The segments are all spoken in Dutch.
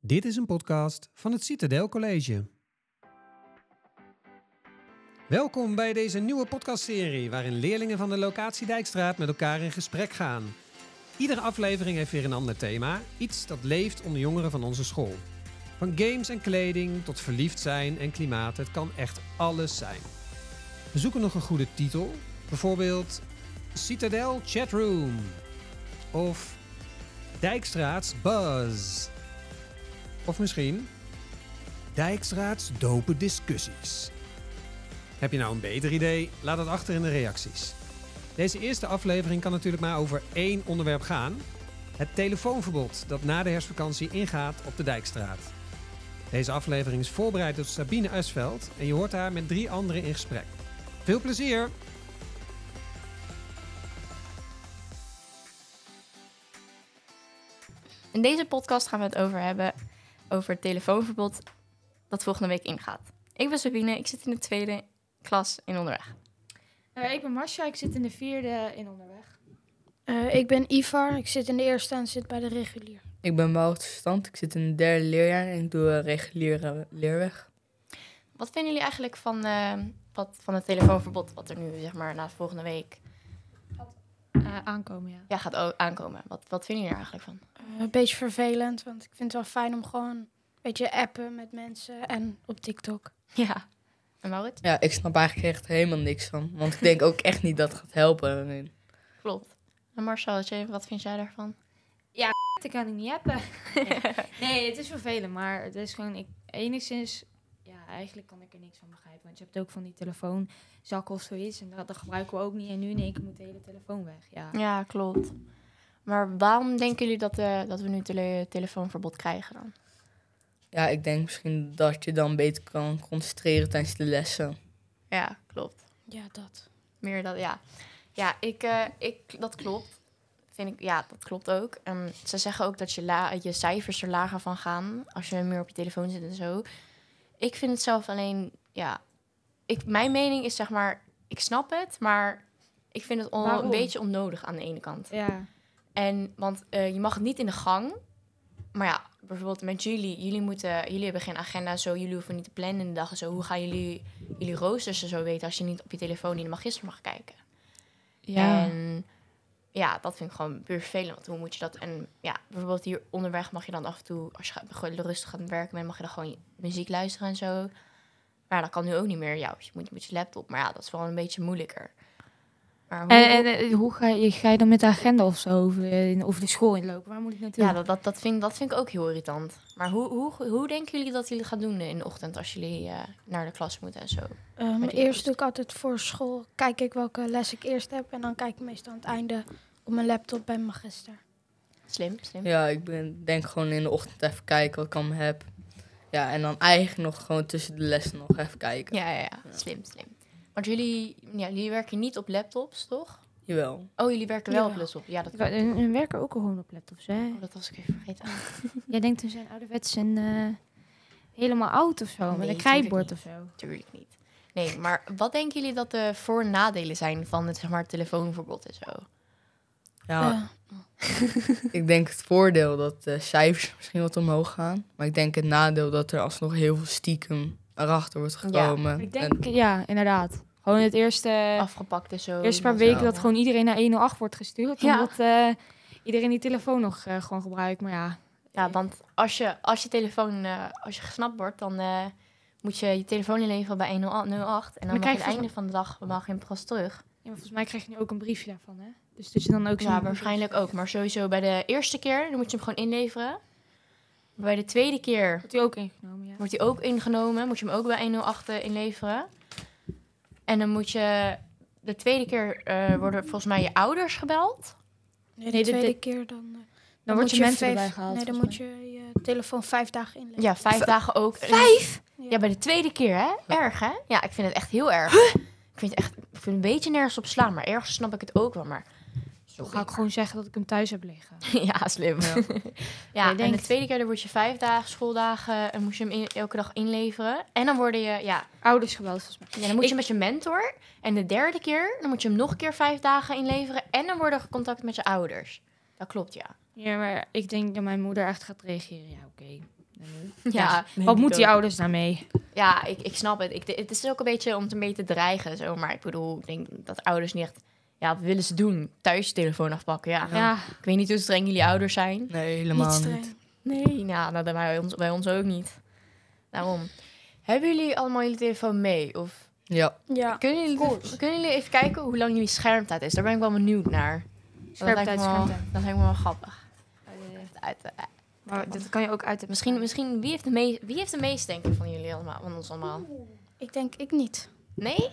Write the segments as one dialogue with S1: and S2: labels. S1: Dit is een podcast van het Citadel College. Welkom bij deze nieuwe podcastserie waarin leerlingen van de locatie Dijkstraat met elkaar in gesprek gaan. Iedere aflevering heeft weer een ander thema, iets dat leeft onder jongeren van onze school. Van games en kleding tot verliefd zijn en klimaat, het kan echt alles zijn. We zoeken nog een goede titel, bijvoorbeeld Citadel Chatroom of Dijkstraats Buzz. Of misschien Dijkstraats dope discussies. Heb je nou een beter idee? Laat het achter in de reacties. Deze eerste aflevering kan natuurlijk maar over één onderwerp gaan. Het telefoonverbod dat na de herfstvakantie ingaat op de Dijkstraat. Deze aflevering is voorbereid door Sabine Usveld en je hoort haar met drie anderen in gesprek. Veel plezier!
S2: In deze podcast gaan we het over hebben over het telefoonverbod dat volgende week ingaat. Ik ben Sabine, ik zit in de tweede klas in onderweg.
S3: Eh, ik ben Marcia, ik zit in de vierde in onderweg.
S4: Eh, ik ben Ivar, ik zit in de eerste en zit bij de regulier.
S5: Ik ben Wout Verstand, ik zit in het derde leerjaar en ik doe eh, reguliere leerweg.
S2: Wat vinden jullie eigenlijk van, eh, wat, van het telefoonverbod wat er nu zeg maar na volgende week
S3: Eh, aankomen, ja.
S2: ja, gaat o- aankomen? Wat, wat vinden jullie er eigenlijk van?
S4: Eh, een beetje vervelend, want ik vind het wel fijn om gewoon een beetje appen met mensen en op TikTok.
S2: Ja. En Maurits?
S5: Ja, ik snap eigenlijk echt helemaal niks van, want ik denk ook echt niet dat het gaat helpen. Nee.
S2: Klopt. En Marcel, wat jij- wat vind jij daarvan?
S3: Dat kan ik niet hebben. nee, het is vervelend, maar het is gewoon ik, enigszins... Ja, eigenlijk kan ik er niks van begrijpen. Want je hebt ook van die telefoonzakken of zoiets. En dat, dat gebruiken we ook niet. En nu in één keer moet de hele telefoon weg. Ja.
S2: Ja, klopt. Maar waarom denken jullie dat, eh, dat we nu tele- telefoonverbod krijgen dan?
S5: Ja, ik denk misschien dat je dan beter kan concentreren tijdens de lessen.
S2: Ja, klopt.
S4: Ja, dat.
S2: Meer dat, ja. Ja, ik, eh, ik, dat klopt. Vind ik, ja, dat klopt ook. Ehm, ze zeggen ook dat je, la, je cijfers er lager van gaan als je meer op je telefoon zit en zo. Ik vind het zelf alleen, ja. Ik, mijn mening is zeg maar, ik snap het, maar ik vind het al een
S3: Waarom?
S2: beetje onnodig aan de ene kant.
S3: Ja.
S2: En, want eh, je mag het niet in de gang. Maar ja, bijvoorbeeld met jullie. Jullie, moeten, jullie hebben geen agenda, zo. Jullie hoeven niet te plannen in de dag en zo. Hoe gaan jullie jullie roosters en zo weten... als je niet op je telefoon in de magister mag kijken? En ja, dat vind ik gewoon puur vervelend. Want hoe moet je dat... En ja, bijvoorbeeld hier onderweg mag je dan af en toe... als je gaat- gewoon rustig aan het werken bent... mag je dan gewoon muziek luisteren en zo. Maar dat kan nu ook niet meer. Ja, je moet met je laptop. Maar ja, dat is wel een beetje moeilijker. Maar hoe-
S3: En, en eh, hoe ga je, ga je dan met de agenda of zo over de, over de school inlopen? Waar moet ik naartoe?
S2: Ja, dat, dat, dat, vind, dat vind ik ook heel irritant. Maar hoe, hoe, hoe denken jullie dat jullie gaan doen in de ochtend als jullie eh, naar de klas moeten en zo?
S4: Ehm,
S2: Maar die
S4: eerst
S2: eerst-
S4: doe ik altijd voor school, kijk ik welke les ik eerst heb en dan kijk ik meestal aan het einde op mijn laptop bij magister.
S2: Slim, slim.
S5: Ja, ik ben, denk gewoon in de ochtend even kijken wat ik allemaal heb. Ja, en dan eigenlijk nog gewoon tussen de lessen nog even kijken.
S2: Ja, ja, ja. Slim, slim. Want jullie, ja, jullie werken niet op laptops, toch?
S5: Jawel.
S2: Oh, jullie werken wel op
S3: Jawel.
S2: laptop. Ja, dat,
S6: Wa- En en werken ook gewoon op laptops, hè?
S2: oh, dat was ik even vergeten.
S6: Jij denkt we zijn ouderwets en eh, helemaal oud of zo,
S2: Nee,
S6: met een
S2: tuurlijk
S6: krijtbord
S2: niet.
S6: of zo.
S2: Natuurlijk niet. Nee, maar wat denken jullie dat de voor- en nadelen zijn van het zeg maar, telefoonverbod en zo? Ah.
S5: Ja,
S4: Eh,
S5: ik denk het voordeel dat de cijfers misschien wat omhoog gaan. Maar ik denk het nadeel dat er alsnog heel veel stiekem erachter wordt gekomen.
S6: Ik
S5: En-
S6: denk, ja, inderdaad. Gewoon het eerste,
S2: Afgepakt en zo.
S6: eerste Eh, paar
S2: Ja.
S6: weken dat
S2: Ja.
S6: gewoon iedereen naar 108 wordt gestuurd.
S2: Ja.
S6: Omdat eh, iedereen die telefoon nog eh, gewoon gebruikt. Maar ja,
S2: Ja, want als je, als je telefoon, eh, als je gesnapt wordt, dan eh, moet je je telefoon inleveren bij 108. En dan,
S6: Dan
S2: mag je
S6: krijg
S2: het
S6: je
S2: einde van de dag mag je hem pas terug.
S6: ja, maar volgens mij krijg je nu ook een briefje daarvan, hè? Dus dat je dan ook zo...
S2: Ja, waarschijnlijk ook. Maar sowieso bij de eerste keer, dan moet je hem gewoon inleveren. Bij de tweede keer
S6: Wordt die ook ingenomen, ja.
S2: wordt hij ook ingenomen. Moet je hem ook bij 108 eh, inleveren. En dan moet je... De tweede keer eh, worden volgens mij je ouders gebeld.
S4: nee,
S6: Nee,
S4: de
S6: dit-
S4: tweede
S6: dit-
S4: keer dan... eh,
S6: Dan wordt
S4: moet
S6: je mensen
S4: vijf-
S6: erbij gehaald.
S4: Nee, dan moet
S6: volgens
S4: je je telefoon vijf dagen inleggen.
S2: Ja, vijf dagen ook.
S4: Ja.
S2: Ja, bij de tweede keer, hè? Erg, hè? Ja, ik vind het echt heel erg. Ik vind het echt ik vind het een beetje nergens op slaan, maar ergens snap ik het ook wel. Maar
S6: mij. Ga ik gewoon zeggen dat ik hem thuis heb liggen.
S2: ja, slim. Ja, en de
S6: denkt-
S2: tweede keer dan word je vijf dagen, schooldagen, en moest je hem in- elke dag inleveren. En dan worden je, ja,
S6: Ouders gebeld, volgens mij.
S2: ja dan moet je met je mentor. En de derde keer, dan moet je hem nog een keer vijf dagen inleveren. En dan worden er contact met je ouders. Dat klopt, ja.
S3: Ja, maar ik denk dat mijn moeder echt gaat reageren. Ja, oké. dan nu.
S2: Ja,
S3: Wat moet die
S2: ook.
S3: ouders daarmee?
S2: Ja, ik, ik snap het. Ik, het is ook een beetje om te mee te dreigen. Zo. Maar ik bedoel, ik denk dat ouders niet echt... Ja, wat willen ze doen? Thuis je telefoon afpakken, ja.
S5: Ja.
S3: ja.
S2: Ik weet niet hoe streng jullie ouders zijn.
S5: Nee, helemaal niet.
S4: streng.
S2: Nee, nou, dat bij ons, bij ons ook niet. Daarom. Hebben jullie allemaal jullie telefoon mee? Of
S5: Ja,
S4: Ja.
S2: kunnen, jullie, kunnen jullie even kijken hoe lang jullie schermtijd is? Daar ben ik wel benieuwd naar. dat
S3: Scherptijd,
S2: lijkt me wel,
S3: scherptijd.
S2: Dat lijkt me wel grappig. Even uit, eh,
S6: Maar dat kan je ook uit de...
S2: misschien, misschien wie, heeft de mee, wie heeft de meeste, denk ik, van jullie allemaal? Van ons allemaal?
S4: Ik denk ik niet.
S2: Nee?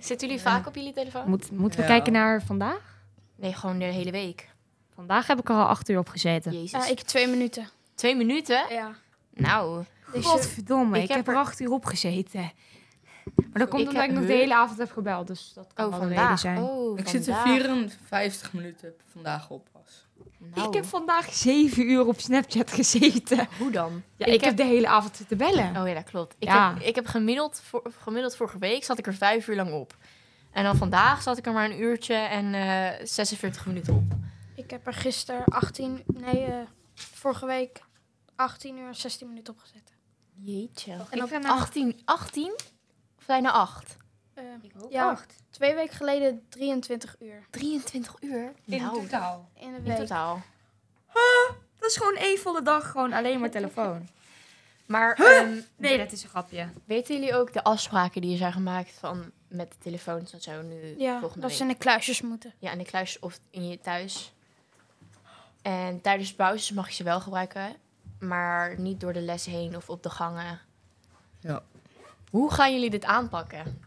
S2: Zitten jullie vaak op jullie telefoon?
S6: Moet, moeten we
S5: Ja.
S6: kijken naar vandaag?
S2: Nee, gewoon de hele week.
S6: Vandaag heb ik er al acht uur op gezeten.
S2: Jezus.
S4: Ja, Eh, ik twee minuten.
S2: Twee minuten?
S4: Ja.
S2: Nou,
S4: Dus eh,
S6: Godverdomme,
S2: Ik
S6: ik,
S2: heb
S6: heb,
S2: er-
S6: er acht uur op gezeten. Maar dat komt
S2: Ik
S6: omdat
S2: heb-
S6: ik nog de hele avond heb gebeld, dus dat kan
S2: oh,
S6: wel de reden
S2: vandaag.
S6: zijn.
S2: Oh,
S5: ik zit er
S2: vandaag.
S5: 54 minuten vandaag op pas.
S2: Nou,
S6: Ik heb vandaag zeven uur op Snapchat gezeten.
S2: hoe dan?
S6: Ja, ik, heb de hele avond zitten bellen.
S2: Oh ja, dat klopt. Ik,
S6: Ja.
S2: heb, ik heb gemiddeld, voor, gemiddeld vorige week zat ik er vijf uur lang op. En dan vandaag zat ik er maar een uurtje en eh 46 minuten op.
S4: ik heb er gisteren 18, nee, eh, vorige week 18 uur en 16 minuten op gezet.
S2: Jeetje.
S4: En op
S2: 18, 18? Of bijna 8?
S4: eh, ja,
S3: Ja.
S4: twee weken geleden 23 uur
S2: 23 uur? nou,
S5: totaal.
S4: in de
S2: in
S4: week.
S2: totaal.
S6: Dat is gewoon één volle dag, gewoon alleen maar telefoon.
S2: Maar ehm,
S6: Nee, dat is een grapje.
S2: weten jullie ook de afspraken die er zijn gemaakt van met de telefoons en zo nu
S4: Ja,
S2: volgende
S4: dat
S2: week?
S4: ze in de kluisjes moeten.
S2: Ja, in de kluis of in je thuis. En tijdens pauzes mag je ze wel gebruiken, maar niet door de les heen of op de gangen.
S5: Ja.
S2: Hoe gaan jullie dit aanpakken?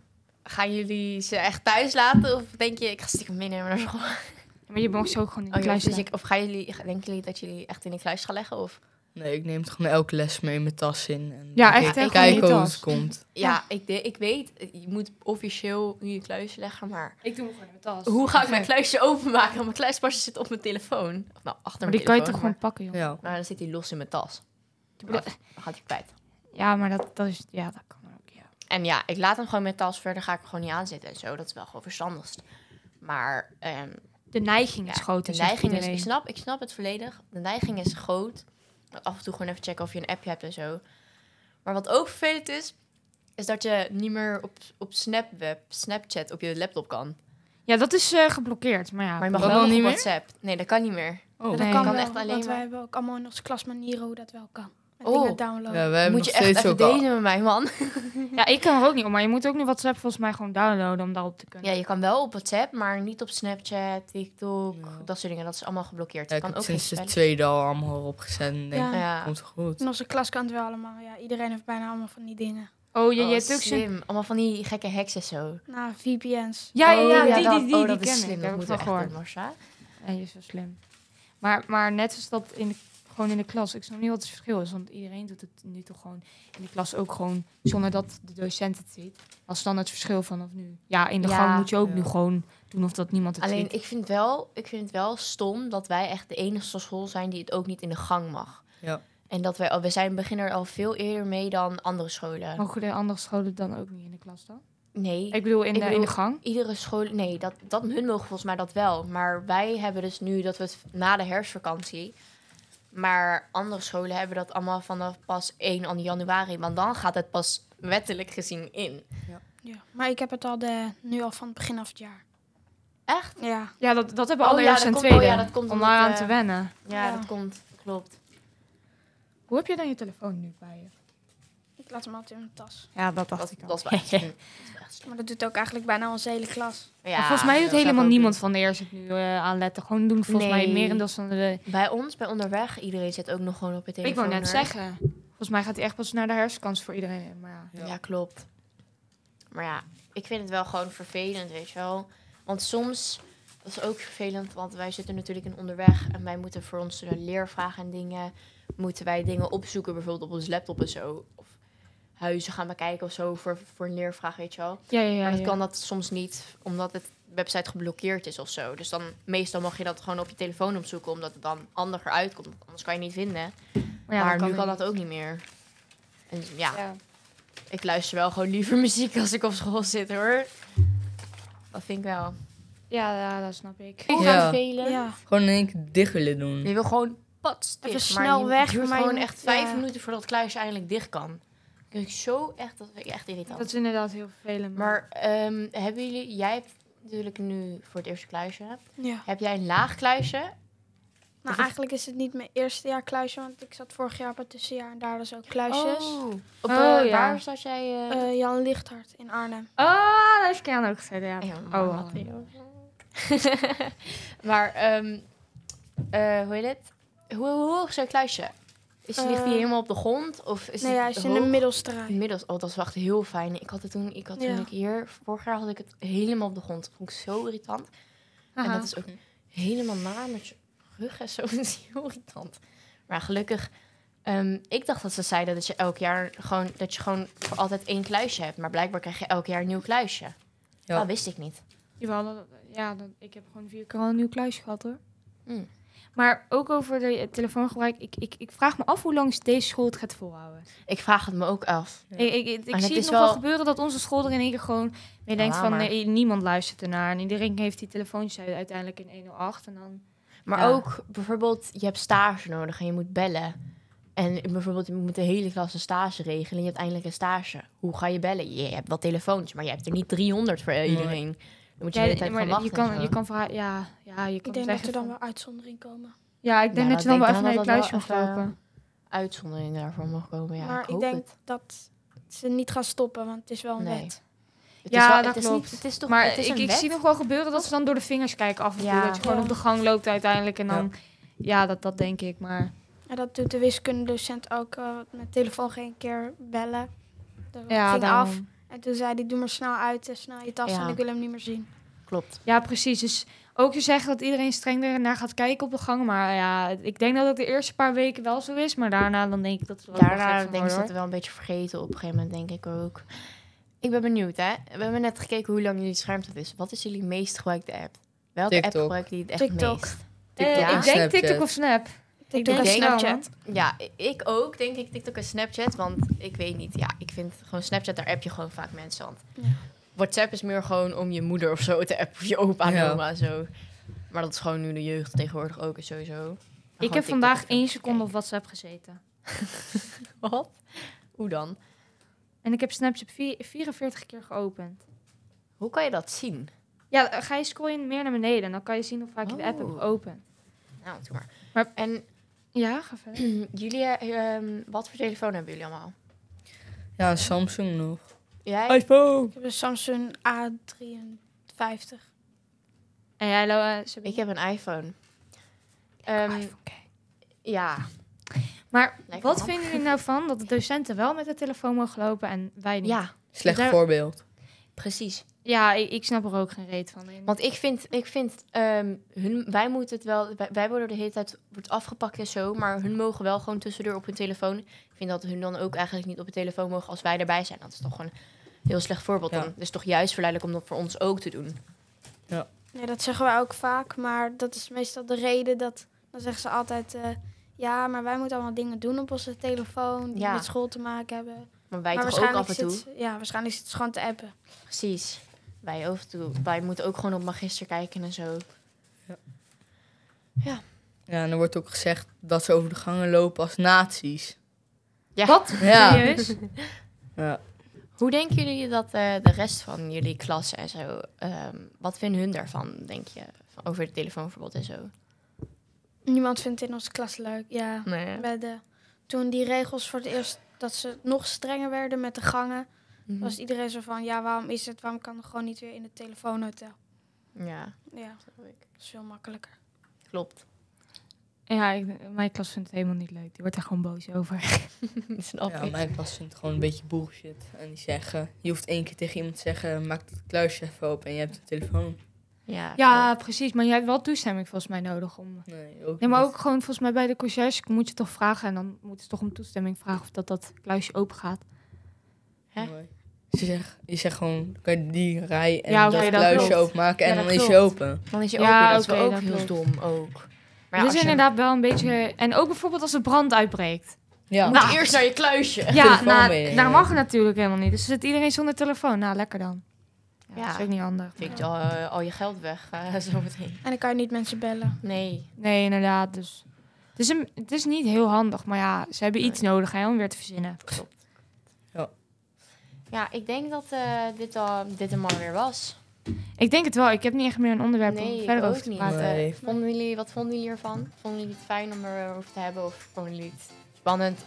S2: Gaan jullie ze echt thuis laten of denk je, ik ga stiekem mee naar school?
S6: Maar je mag ze ook gewoon in de
S2: Oh, ja, of,
S6: kluis
S2: dus
S6: leggen.
S2: ik, of gaan jullie, denken jullie dat jullie echt in de kluis gaan leggen? Of?
S5: Nee, ik neem het gewoon elke les mee in mijn tas in. En
S6: Ja,
S5: dan
S6: echt,
S5: kijk-
S6: hè, gewoon in je
S5: Kijken hoe
S6: tas.
S5: het komt.
S2: Ja, Ik, de- ik weet, je moet officieel in je kluis leggen, maar
S3: Ik doe hem gewoon in mijn tas.
S2: hoe ga ik mijn kluisje openmaken? Want Mijn kluispasje zit op mijn telefoon. Of nou, achter
S6: Maar
S2: mijn
S6: die kan je toch
S2: telefoon,
S6: gewoon pakken, joh.
S5: Ja.
S2: maar- Maar dan zit hij los in mijn tas.
S6: bedoelt-
S2: Dan gaat hij kwijt.
S6: Ja, maar dat, dat is... Ja, dat kan ook, ja.
S2: En ja, ik laat hem gewoon met tas verder, ga ik hem gewoon niet aanzetten en zo. Dat is wel gewoon verstandigst. Maar ehm,
S6: De neiging is
S2: ja,
S6: groot.
S2: de neiging is, ik snap, ik snap het volledig. De neiging is groot. Af en toe gewoon even checken of je een appje hebt en zo. Maar wat ook vervelend is, is dat je niet meer op, op Snapweb, Snapchat op je laptop kan.
S6: Ja, dat is eh, geblokkeerd, maar ja.
S2: Maar je mag
S5: kan
S2: wel
S5: dat
S2: nog op
S5: niet meer?
S2: WhatsApp. Nee, dat kan niet meer.
S5: Oh.
S6: Nee.
S4: kan
S2: kan
S4: wel,
S2: echt alleen
S4: want
S2: maar-
S4: wij hebben ook allemaal in onze klas manieren hoe dat wel kan. Met
S2: Oh.
S4: dingen downloaden.
S5: Ja, we hebben
S2: Moet
S5: nog
S2: je echt
S5: steeds
S2: even
S5: ook al...
S2: delen met mij, man.
S6: Ja, ik kan er ook niet om, maar je moet ook nu WhatsApp volgens mij gewoon downloaden om daarop te kunnen.
S2: Ja, je kan wel op WhatsApp, maar niet op Snapchat, TikTok,
S5: Ja.
S2: dat soort dingen. Dat dus is allemaal geblokkeerd. Je
S5: Ja, ik
S2: kan
S5: heb
S2: ook geen
S5: sinds de
S2: spellen.
S5: tweede al allemaal opgezet en denk,
S4: Ja.
S2: Ja.
S5: komt goed.
S4: In onze klas kan het wel allemaal. Ja, iedereen heeft bijna allemaal van die dingen.
S6: Oh, je,
S2: Oh,
S6: je hebt ook zo'n...
S2: slim. Allemaal van die gekke heksen zo.
S4: Nou, VPN's.
S6: Ja, ja, ja,
S2: Oh,
S6: die,
S2: dat-
S6: die, die,
S2: oh,
S6: die
S2: dat
S6: ken
S2: is
S6: ik.
S2: slim. Dat
S6: Daar heb ik
S2: moeten
S6: van
S2: we echt
S6: gehoord.
S2: doen, Marcia.
S6: Ja, je is zo slim. Maar, maar net zoals dat in de- gewoon in de klas. Ik snap niet wat het verschil is. Want iedereen doet het nu toch gewoon in de klas ook gewoon zonder dat de docent het ziet. Als dan het verschil vanaf nu. Ja, in de
S2: Ja.
S6: gang moet je ook
S5: Ja.
S6: nu gewoon doen of dat niemand het
S2: Alleen,
S6: ziet.
S2: ik vind, wel, ik vind het wel stom dat wij echt de enige school zijn die het ook niet in de gang mag.
S5: Ja.
S2: En dat wij, al- we zijn beginnen er al veel eerder mee dan andere scholen.
S6: Mogen de andere scholen dan ook niet in de klas dan?
S2: Nee,
S6: Ik bedoel, in,
S2: Ik
S6: de, in
S2: bedoel-
S6: de gang.
S2: iedere school... Nee, dat, dat, hun mogen volgens mij dat wel. Maar wij hebben dus nu dat we het na de herfstvakantie... Maar andere scholen hebben dat allemaal vanaf pas 1 aan januari. Want dan gaat het pas wettelijk gezien in.
S4: Ja. Maar ik heb het al de, nu al van het begin af het jaar.
S2: Echt?
S4: Ja.
S6: Ja, dat, dat hebben
S2: Oh,
S6: alle
S2: ja,
S6: eerste
S2: dat
S6: en
S2: komt-
S6: tweede.
S2: oh, ja, dat komt
S6: om
S2: omdat,
S6: daar aan
S2: eh,
S6: te wennen.
S2: Ja,
S4: Ja.
S2: dat komt. Klopt.
S6: Hoe heb je dan je telefoon nu bij je?
S4: Ik laat hem altijd in mijn tas.
S6: Ja, dat
S2: Dat,
S6: dacht ik al.
S2: dat is wel echt slim. Dat is wel echt slim.
S4: Maar dat doet ook eigenlijk bijna onze hele klas.
S2: Ja,
S6: Maar volgens mij doet
S2: dat zou
S6: helemaal
S2: ik ook
S6: niemand van de eerste nu eh, aan letten. Gewoon doen volgens mij
S2: Nee.
S6: meer merendeel van de
S2: doen. Bij ons, bij onderweg, iedereen zit ook nog gewoon op het
S6: Ik
S2: telefoon.
S6: wou net
S2: hoor.
S6: zeggen. Volgens mij gaat hij echt pas naar de herfstkans voor iedereen. in, Maar ja.
S2: Ja. klopt. Maar ja, ik vind het wel gewoon vervelend, weet je wel. Want soms, dat is ook vervelend, want wij zitten natuurlijk in onderweg en wij moeten voor onze leervragen en dingen, moeten wij dingen opzoeken, bijvoorbeeld op ons laptop en zo. Of huizen gaan bekijken of zo voor, voor een leervraag, weet je wel.
S6: Ja, ja, ja.
S2: Maar dat
S6: ja.
S2: kan dat soms niet, omdat het website geblokkeerd is of zo. Dus dan meestal mag je dat gewoon op je telefoon opzoeken, omdat het dan handiger uitkomt. want Anders kan je het niet vinden.
S6: Maar, ja,
S2: maar
S6: dat
S2: nu kan
S6: niet.
S2: dat ook niet meer. En ja,
S3: Ja.
S2: ik luister wel gewoon liever muziek als ik op school zit, hoor. Dat vind ik wel.
S6: Ja, ja, dat snap ik.
S2: Of
S5: Ja.
S2: velen.
S4: Ja.
S5: Gewoon in één keer diggelen doen.
S2: Je wil gewoon pats
S4: Even snel weg,
S2: Het duurt
S4: maar je
S2: gewoon
S4: moet-
S2: echt vijf
S4: ja.
S2: minuten voordat het kluisje eindelijk dicht kan. Dat vind ik zo echt, dat vind ik echt irritant.
S6: Dat is inderdaad heel vervelend.
S2: Maar ehm, hebben jullie, jij hebt natuurlijk nu voor het eerste kluisje.
S4: ja.
S2: Heb jij een laag kluisje?
S4: Nou, eigenlijk is het niet mijn eerste jaar kluisje, want ik zat vorig jaar op het tussenjaar en daar dus ook kluisjes.
S2: Op,
S6: Oh,
S2: eh,
S6: ja.
S2: Waar zat jij? eh,
S4: Eh, Jan Lichthart in Arnhem.
S6: Oh, dat heeft Kian ook gezegd,
S4: Ah,
S6: ja.
S2: Ja, maar
S6: oh,
S2: wat weer. maar, ehm, eh, hoe heet het? Hoe, hoe hoog is jouw kluisje? Is, ligt die
S4: Eh,
S2: helemaal op de grond? Of is
S4: Nee,
S2: het
S4: hij is in de
S2: hoog?
S4: middelstraat.
S2: Inmiddels, oh, dat is wel echt heel fijn. Ik had het toen, ik had toen
S4: Ja.
S2: ik hier, vorig jaar had ik het helemaal op de grond. Dat vond ik zo irritant. En dat is ook helemaal naar met je rug en zo. Dat is heel irritant. Maar gelukkig, ehm, ik dacht dat ze zeiden dat je elk jaar gewoon, dat je gewoon voor altijd één kluisje hebt. Maar blijkbaar krijg je elk jaar een nieuw kluisje.
S5: Ja.
S2: Dat wist ik niet.
S6: Jawel, dat- ja, dat- ik heb gewoon vier keer al een nieuw kluisje gehad hoor.
S2: Mm.
S6: Maar ook over de eh, telefoongebruik. Ik, ik, ik vraag me af hoe lang deze school het gaat volhouden.
S2: Ik vraag het me ook af.
S6: Ik, ik, ik, ik
S2: Maar het
S6: zie het
S2: is
S6: nog wel
S2: wel-
S6: gebeuren dat onze school er in één keer gewoon mee denkt
S2: Ja,
S6: van
S2: maar-
S6: nee, niemand luistert ernaar. En iedereen heeft die telefoontjes u- uiteindelijk in 108. En dan
S2: Maar
S6: Ja.
S2: ook bijvoorbeeld, je hebt stage nodig en je moet bellen. En bijvoorbeeld, je moet de hele klas een stage regelen. Je hebt eindelijk een stage. Hoe ga je bellen? Je hebt wel telefoons, maar je hebt er niet 300 voor eh,
S5: Nee.
S2: iedereen. Dan moet je de hele tijd
S6: maar
S2: gaan wachten.
S6: je
S2: en
S6: kan,
S2: zo.
S6: je kan verha- ja, ja, je
S4: Ik
S6: kan
S4: denk dat
S6: zeggen
S4: er dan
S6: van-
S4: wel uitzondering komen.
S6: Ja, ik denk
S2: Ja,
S6: dat je
S2: dat
S6: dan wel
S2: denk
S6: even
S2: ik
S6: naar je
S2: dan dat
S6: kluisje
S2: wel
S6: mag
S2: even-
S6: lopen.
S2: Uitzonderingen daarvoor mag komen. Ja,
S4: maar
S2: ik
S4: ik,
S2: hoop
S4: denk
S2: het.
S4: dat ze niet gaan stoppen, want het is wel een
S2: Nee.
S4: wet.
S2: Het
S6: Ja,
S2: is wel-
S6: dat
S2: het is
S6: klopt.
S2: Niet, het is toch,
S6: Maar
S2: het is
S6: ik,
S2: een
S6: ik
S2: wet.
S6: zie nog wel gebeuren dat ze dan door de vingers kijken af en toe.
S2: Ja.
S6: Dat je gewoon
S4: Ja.
S6: op de gang loopt uiteindelijk. En
S5: Ja.
S6: dan, ja, dat, dat denk ik. Maar
S4: En dat doet de wiskundedocent ook eh, want mijn telefoon geen keer bellen. Dat
S6: ja,
S4: ging
S6: daarom.
S4: af. En toen zei hij, doe maar snel uit en snel je tas,
S2: Ja.
S4: en ik wil hem niet meer zien.
S2: Klopt.
S6: Ja, precies. Dus ook je zeggen dat iedereen streng ernaar gaat kijken op de gang. Maar ja, ik denk dat het de eerste paar weken wel zo is. Maar daarna dan denk ik dat het wel
S2: Daarna denk ik dat we
S6: dat
S2: wel een beetje vergeten op een gegeven moment, denk ik ook. Ik ben benieuwd, hè. We hebben net gekeken hoe lang jullie schermtijd is. Wat is jullie meest gebruikte app? Welke app
S5: TikTok.
S2: gebruiken jullie het Oh, echt
S4: TikTok.
S2: meest?
S5: TikTok
S2: en
S6: Eh, Ik denk
S5: Snapchat.
S6: TikTok of Snap.
S2: denk
S4: Ik denk
S2: het wel,
S4: Snapchat.
S2: Ja, i- ik ook, denk ik, TikTok en Snapchat. Want ik weet niet, ja, ik vind gewoon Snapchat, daar app je gewoon vaak mensen. Want
S4: Ja.
S2: WhatsApp is meer gewoon om je moeder of zo te appen, of je opa en
S5: Ja.
S2: oma en zo. Maar dat is gewoon nu de jeugd tegenwoordig ook is sowieso. Maar gewoon
S6: Ik heb
S2: TikTok
S6: vandaag
S2: en
S6: één
S2: Facebook
S6: seconde op WhatsApp gezeten.
S2: kijken. Wat? Hoe dan?
S6: En ik heb Snapchat vi- 44 keer geopend.
S2: Hoe kan je dat zien?
S6: Ja, ga je scrollen meer naar beneden. En dan kan je zien hoe vaak je de app hebt
S2: Oh.
S6: geopend.
S2: Nou, doe maar.
S6: Maar-
S2: En
S6: Ja, ga verder.
S2: jullie, eh, ehm, wat voor telefoon hebben jullie allemaal?
S5: Ja, Samsung nog.
S2: Jij?
S6: Oh,
S5: iPhone.
S4: Ik heb een Samsung A53.
S6: En jij, Loa, Sabine?
S2: Ik heb een iPhone. Ehm, ja,
S6: Maar
S2: Lijkt
S6: wat
S2: me
S6: vinden jullie nou van dat de docenten wel met de telefoon mogen lopen en wij niet?
S2: ja,
S5: Slecht
S6: Daar-
S5: voorbeeld.
S2: precies.
S6: Ja, ik, ik snap er ook geen reet van. In.
S2: Want ik vind, ik vind ehm, hun, wij moeten het wel, wij, wij worden de hele tijd wordt afgepakt en zo, maar hun mogen wel gewoon tussendoor op hun telefoon. Ik vind dat hun dan ook eigenlijk niet op hun telefoon mogen als wij erbij zijn. Dat is toch een heel slecht voorbeeld.
S5: Ja.
S2: Dan. Het is toch juist verleidelijk om dat voor ons ook te doen.
S4: Nee, dat zeggen wij ook vaak, maar dat is meestal de reden dat... Dan zeggen ze altijd, eh, ja, maar wij moeten allemaal dingen doen op onze telefoon... die
S2: Ja.
S4: met school te maken hebben.
S2: Maar wij
S4: maar
S2: toch ook af en toe.
S4: zit, ze- ja, waarschijnlijk zit ze gewoon te appen.
S2: Precies. Wij over toe. Wij moeten ook gewoon op magister kijken en zo.
S5: Ja, en er wordt ook gezegd dat ze over de gangen lopen als nazi's.
S2: Ja.
S6: Wat?
S5: Ja.
S6: Serieus?
S5: ja.
S2: Hoe denken jullie dat eh, de rest van jullie klas en zo, ehm, wat vinden hun daarvan, denk je? Van- Over het telefoonverbod en zo?
S4: Niemand vindt het in onze klas leuk, ja.
S2: Nee.
S4: Bij de, toen die regels voor het eerst, dat ze nog strenger werden met de gangen...
S2: Mhm.
S4: was iedereen zo van, ja, waarom is het? Waarom kan het gewoon niet weer in het telefoonhotel?
S2: Ja,
S4: Ja,
S2: snap ik.
S4: dat is veel makkelijker.
S2: klopt.
S6: Ja, ik- mijn klas vindt het helemaal niet leuk. Die wordt er gewoon boos over.
S2: snap
S5: ja,
S2: ik.
S5: mijn klas vindt gewoon een beetje bullshit. En die zeggen, je hoeft één keer tegen iemand te zeggen, maak dat kluisje even open en je hebt een telefoon.
S2: Ja,
S6: Ja,
S2: klopt.
S6: precies. Maar jij hebt wel toestemming volgens mij nodig om...
S5: Nee, ook
S6: Nee, maar
S5: niet.
S6: ook gewoon volgens mij bij de conciërge moet je toch vragen. En dan moeten ze toch om toestemming vragen of dat dat kluisje open gaat.
S2: Hè?
S5: Mooi. Ze zegt, je zegt gewoon, kan je die rij en
S6: Ja, oké,
S5: dat
S6: dat
S5: kluisje
S6: klopt.
S5: openmaken en
S2: Ja, dat
S5: dan is je
S2: klopt.
S5: open.
S2: Dan is je
S6: Ja,
S2: open, dat
S6: oké,
S2: is ook
S6: dat
S2: heel dom ook. Maar ja,
S6: dus
S2: als je-
S6: inderdaad wel een beetje... En ook bijvoorbeeld als er brand uitbreekt.
S5: Ja.
S2: moet je eerst naar je kluisje.
S6: Ja,
S5: telefoon
S6: nou,
S5: meenemen.
S6: daar mag het natuurlijk helemaal niet. Dus zit iedereen zonder telefoon. Nou, lekker dan.
S2: Ja.
S6: Dat is ook niet handig.
S2: Vind je al, eh, al je geld weg eh, zo meteen.
S4: En dan kan je niet mensen bellen.
S2: Nee.
S6: Nee, inderdaad. Dus het is, een, het is niet heel handig, maar ja, ze hebben iets nodig hè, om weer te verzinnen.
S2: Ja, ik denk dat eh, dit, al, dit hem alweer was.
S6: Ik denk het wel. Ik heb niet echt meer een onderwerp
S2: Nee,
S6: om
S2: ik
S6: verder
S2: ook
S6: over te
S2: niet. Eh,
S6: praten.
S5: Nee.
S2: Vonden jullie, wat vonden jullie ervan? Vonden jullie het fijn om erover te hebben? Of vonden jullie het spannend?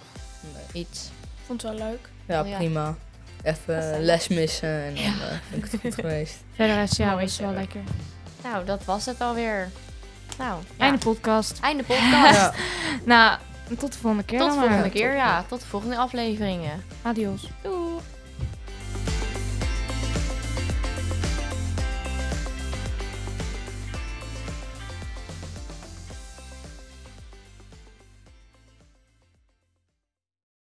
S2: Iets.
S4: Vond het wel leuk.
S5: Ja,
S2: Oh, ja.
S5: prima. Even les missen en dan eh, vind ik het goed geweest.
S6: Verder is ja,
S2: Nou,
S6: was
S2: ik-
S6: wel lekker.
S2: Nou, dat was het alweer. Nou, ja.
S6: Einde podcast.
S2: Einde podcast.
S5: Ja.
S6: Nou, tot de volgende keer
S2: Tot
S6: dan
S2: de
S6: maar.
S2: volgende keer, ja. Tot de volgende afleveringen.
S6: Adios.
S2: Doei.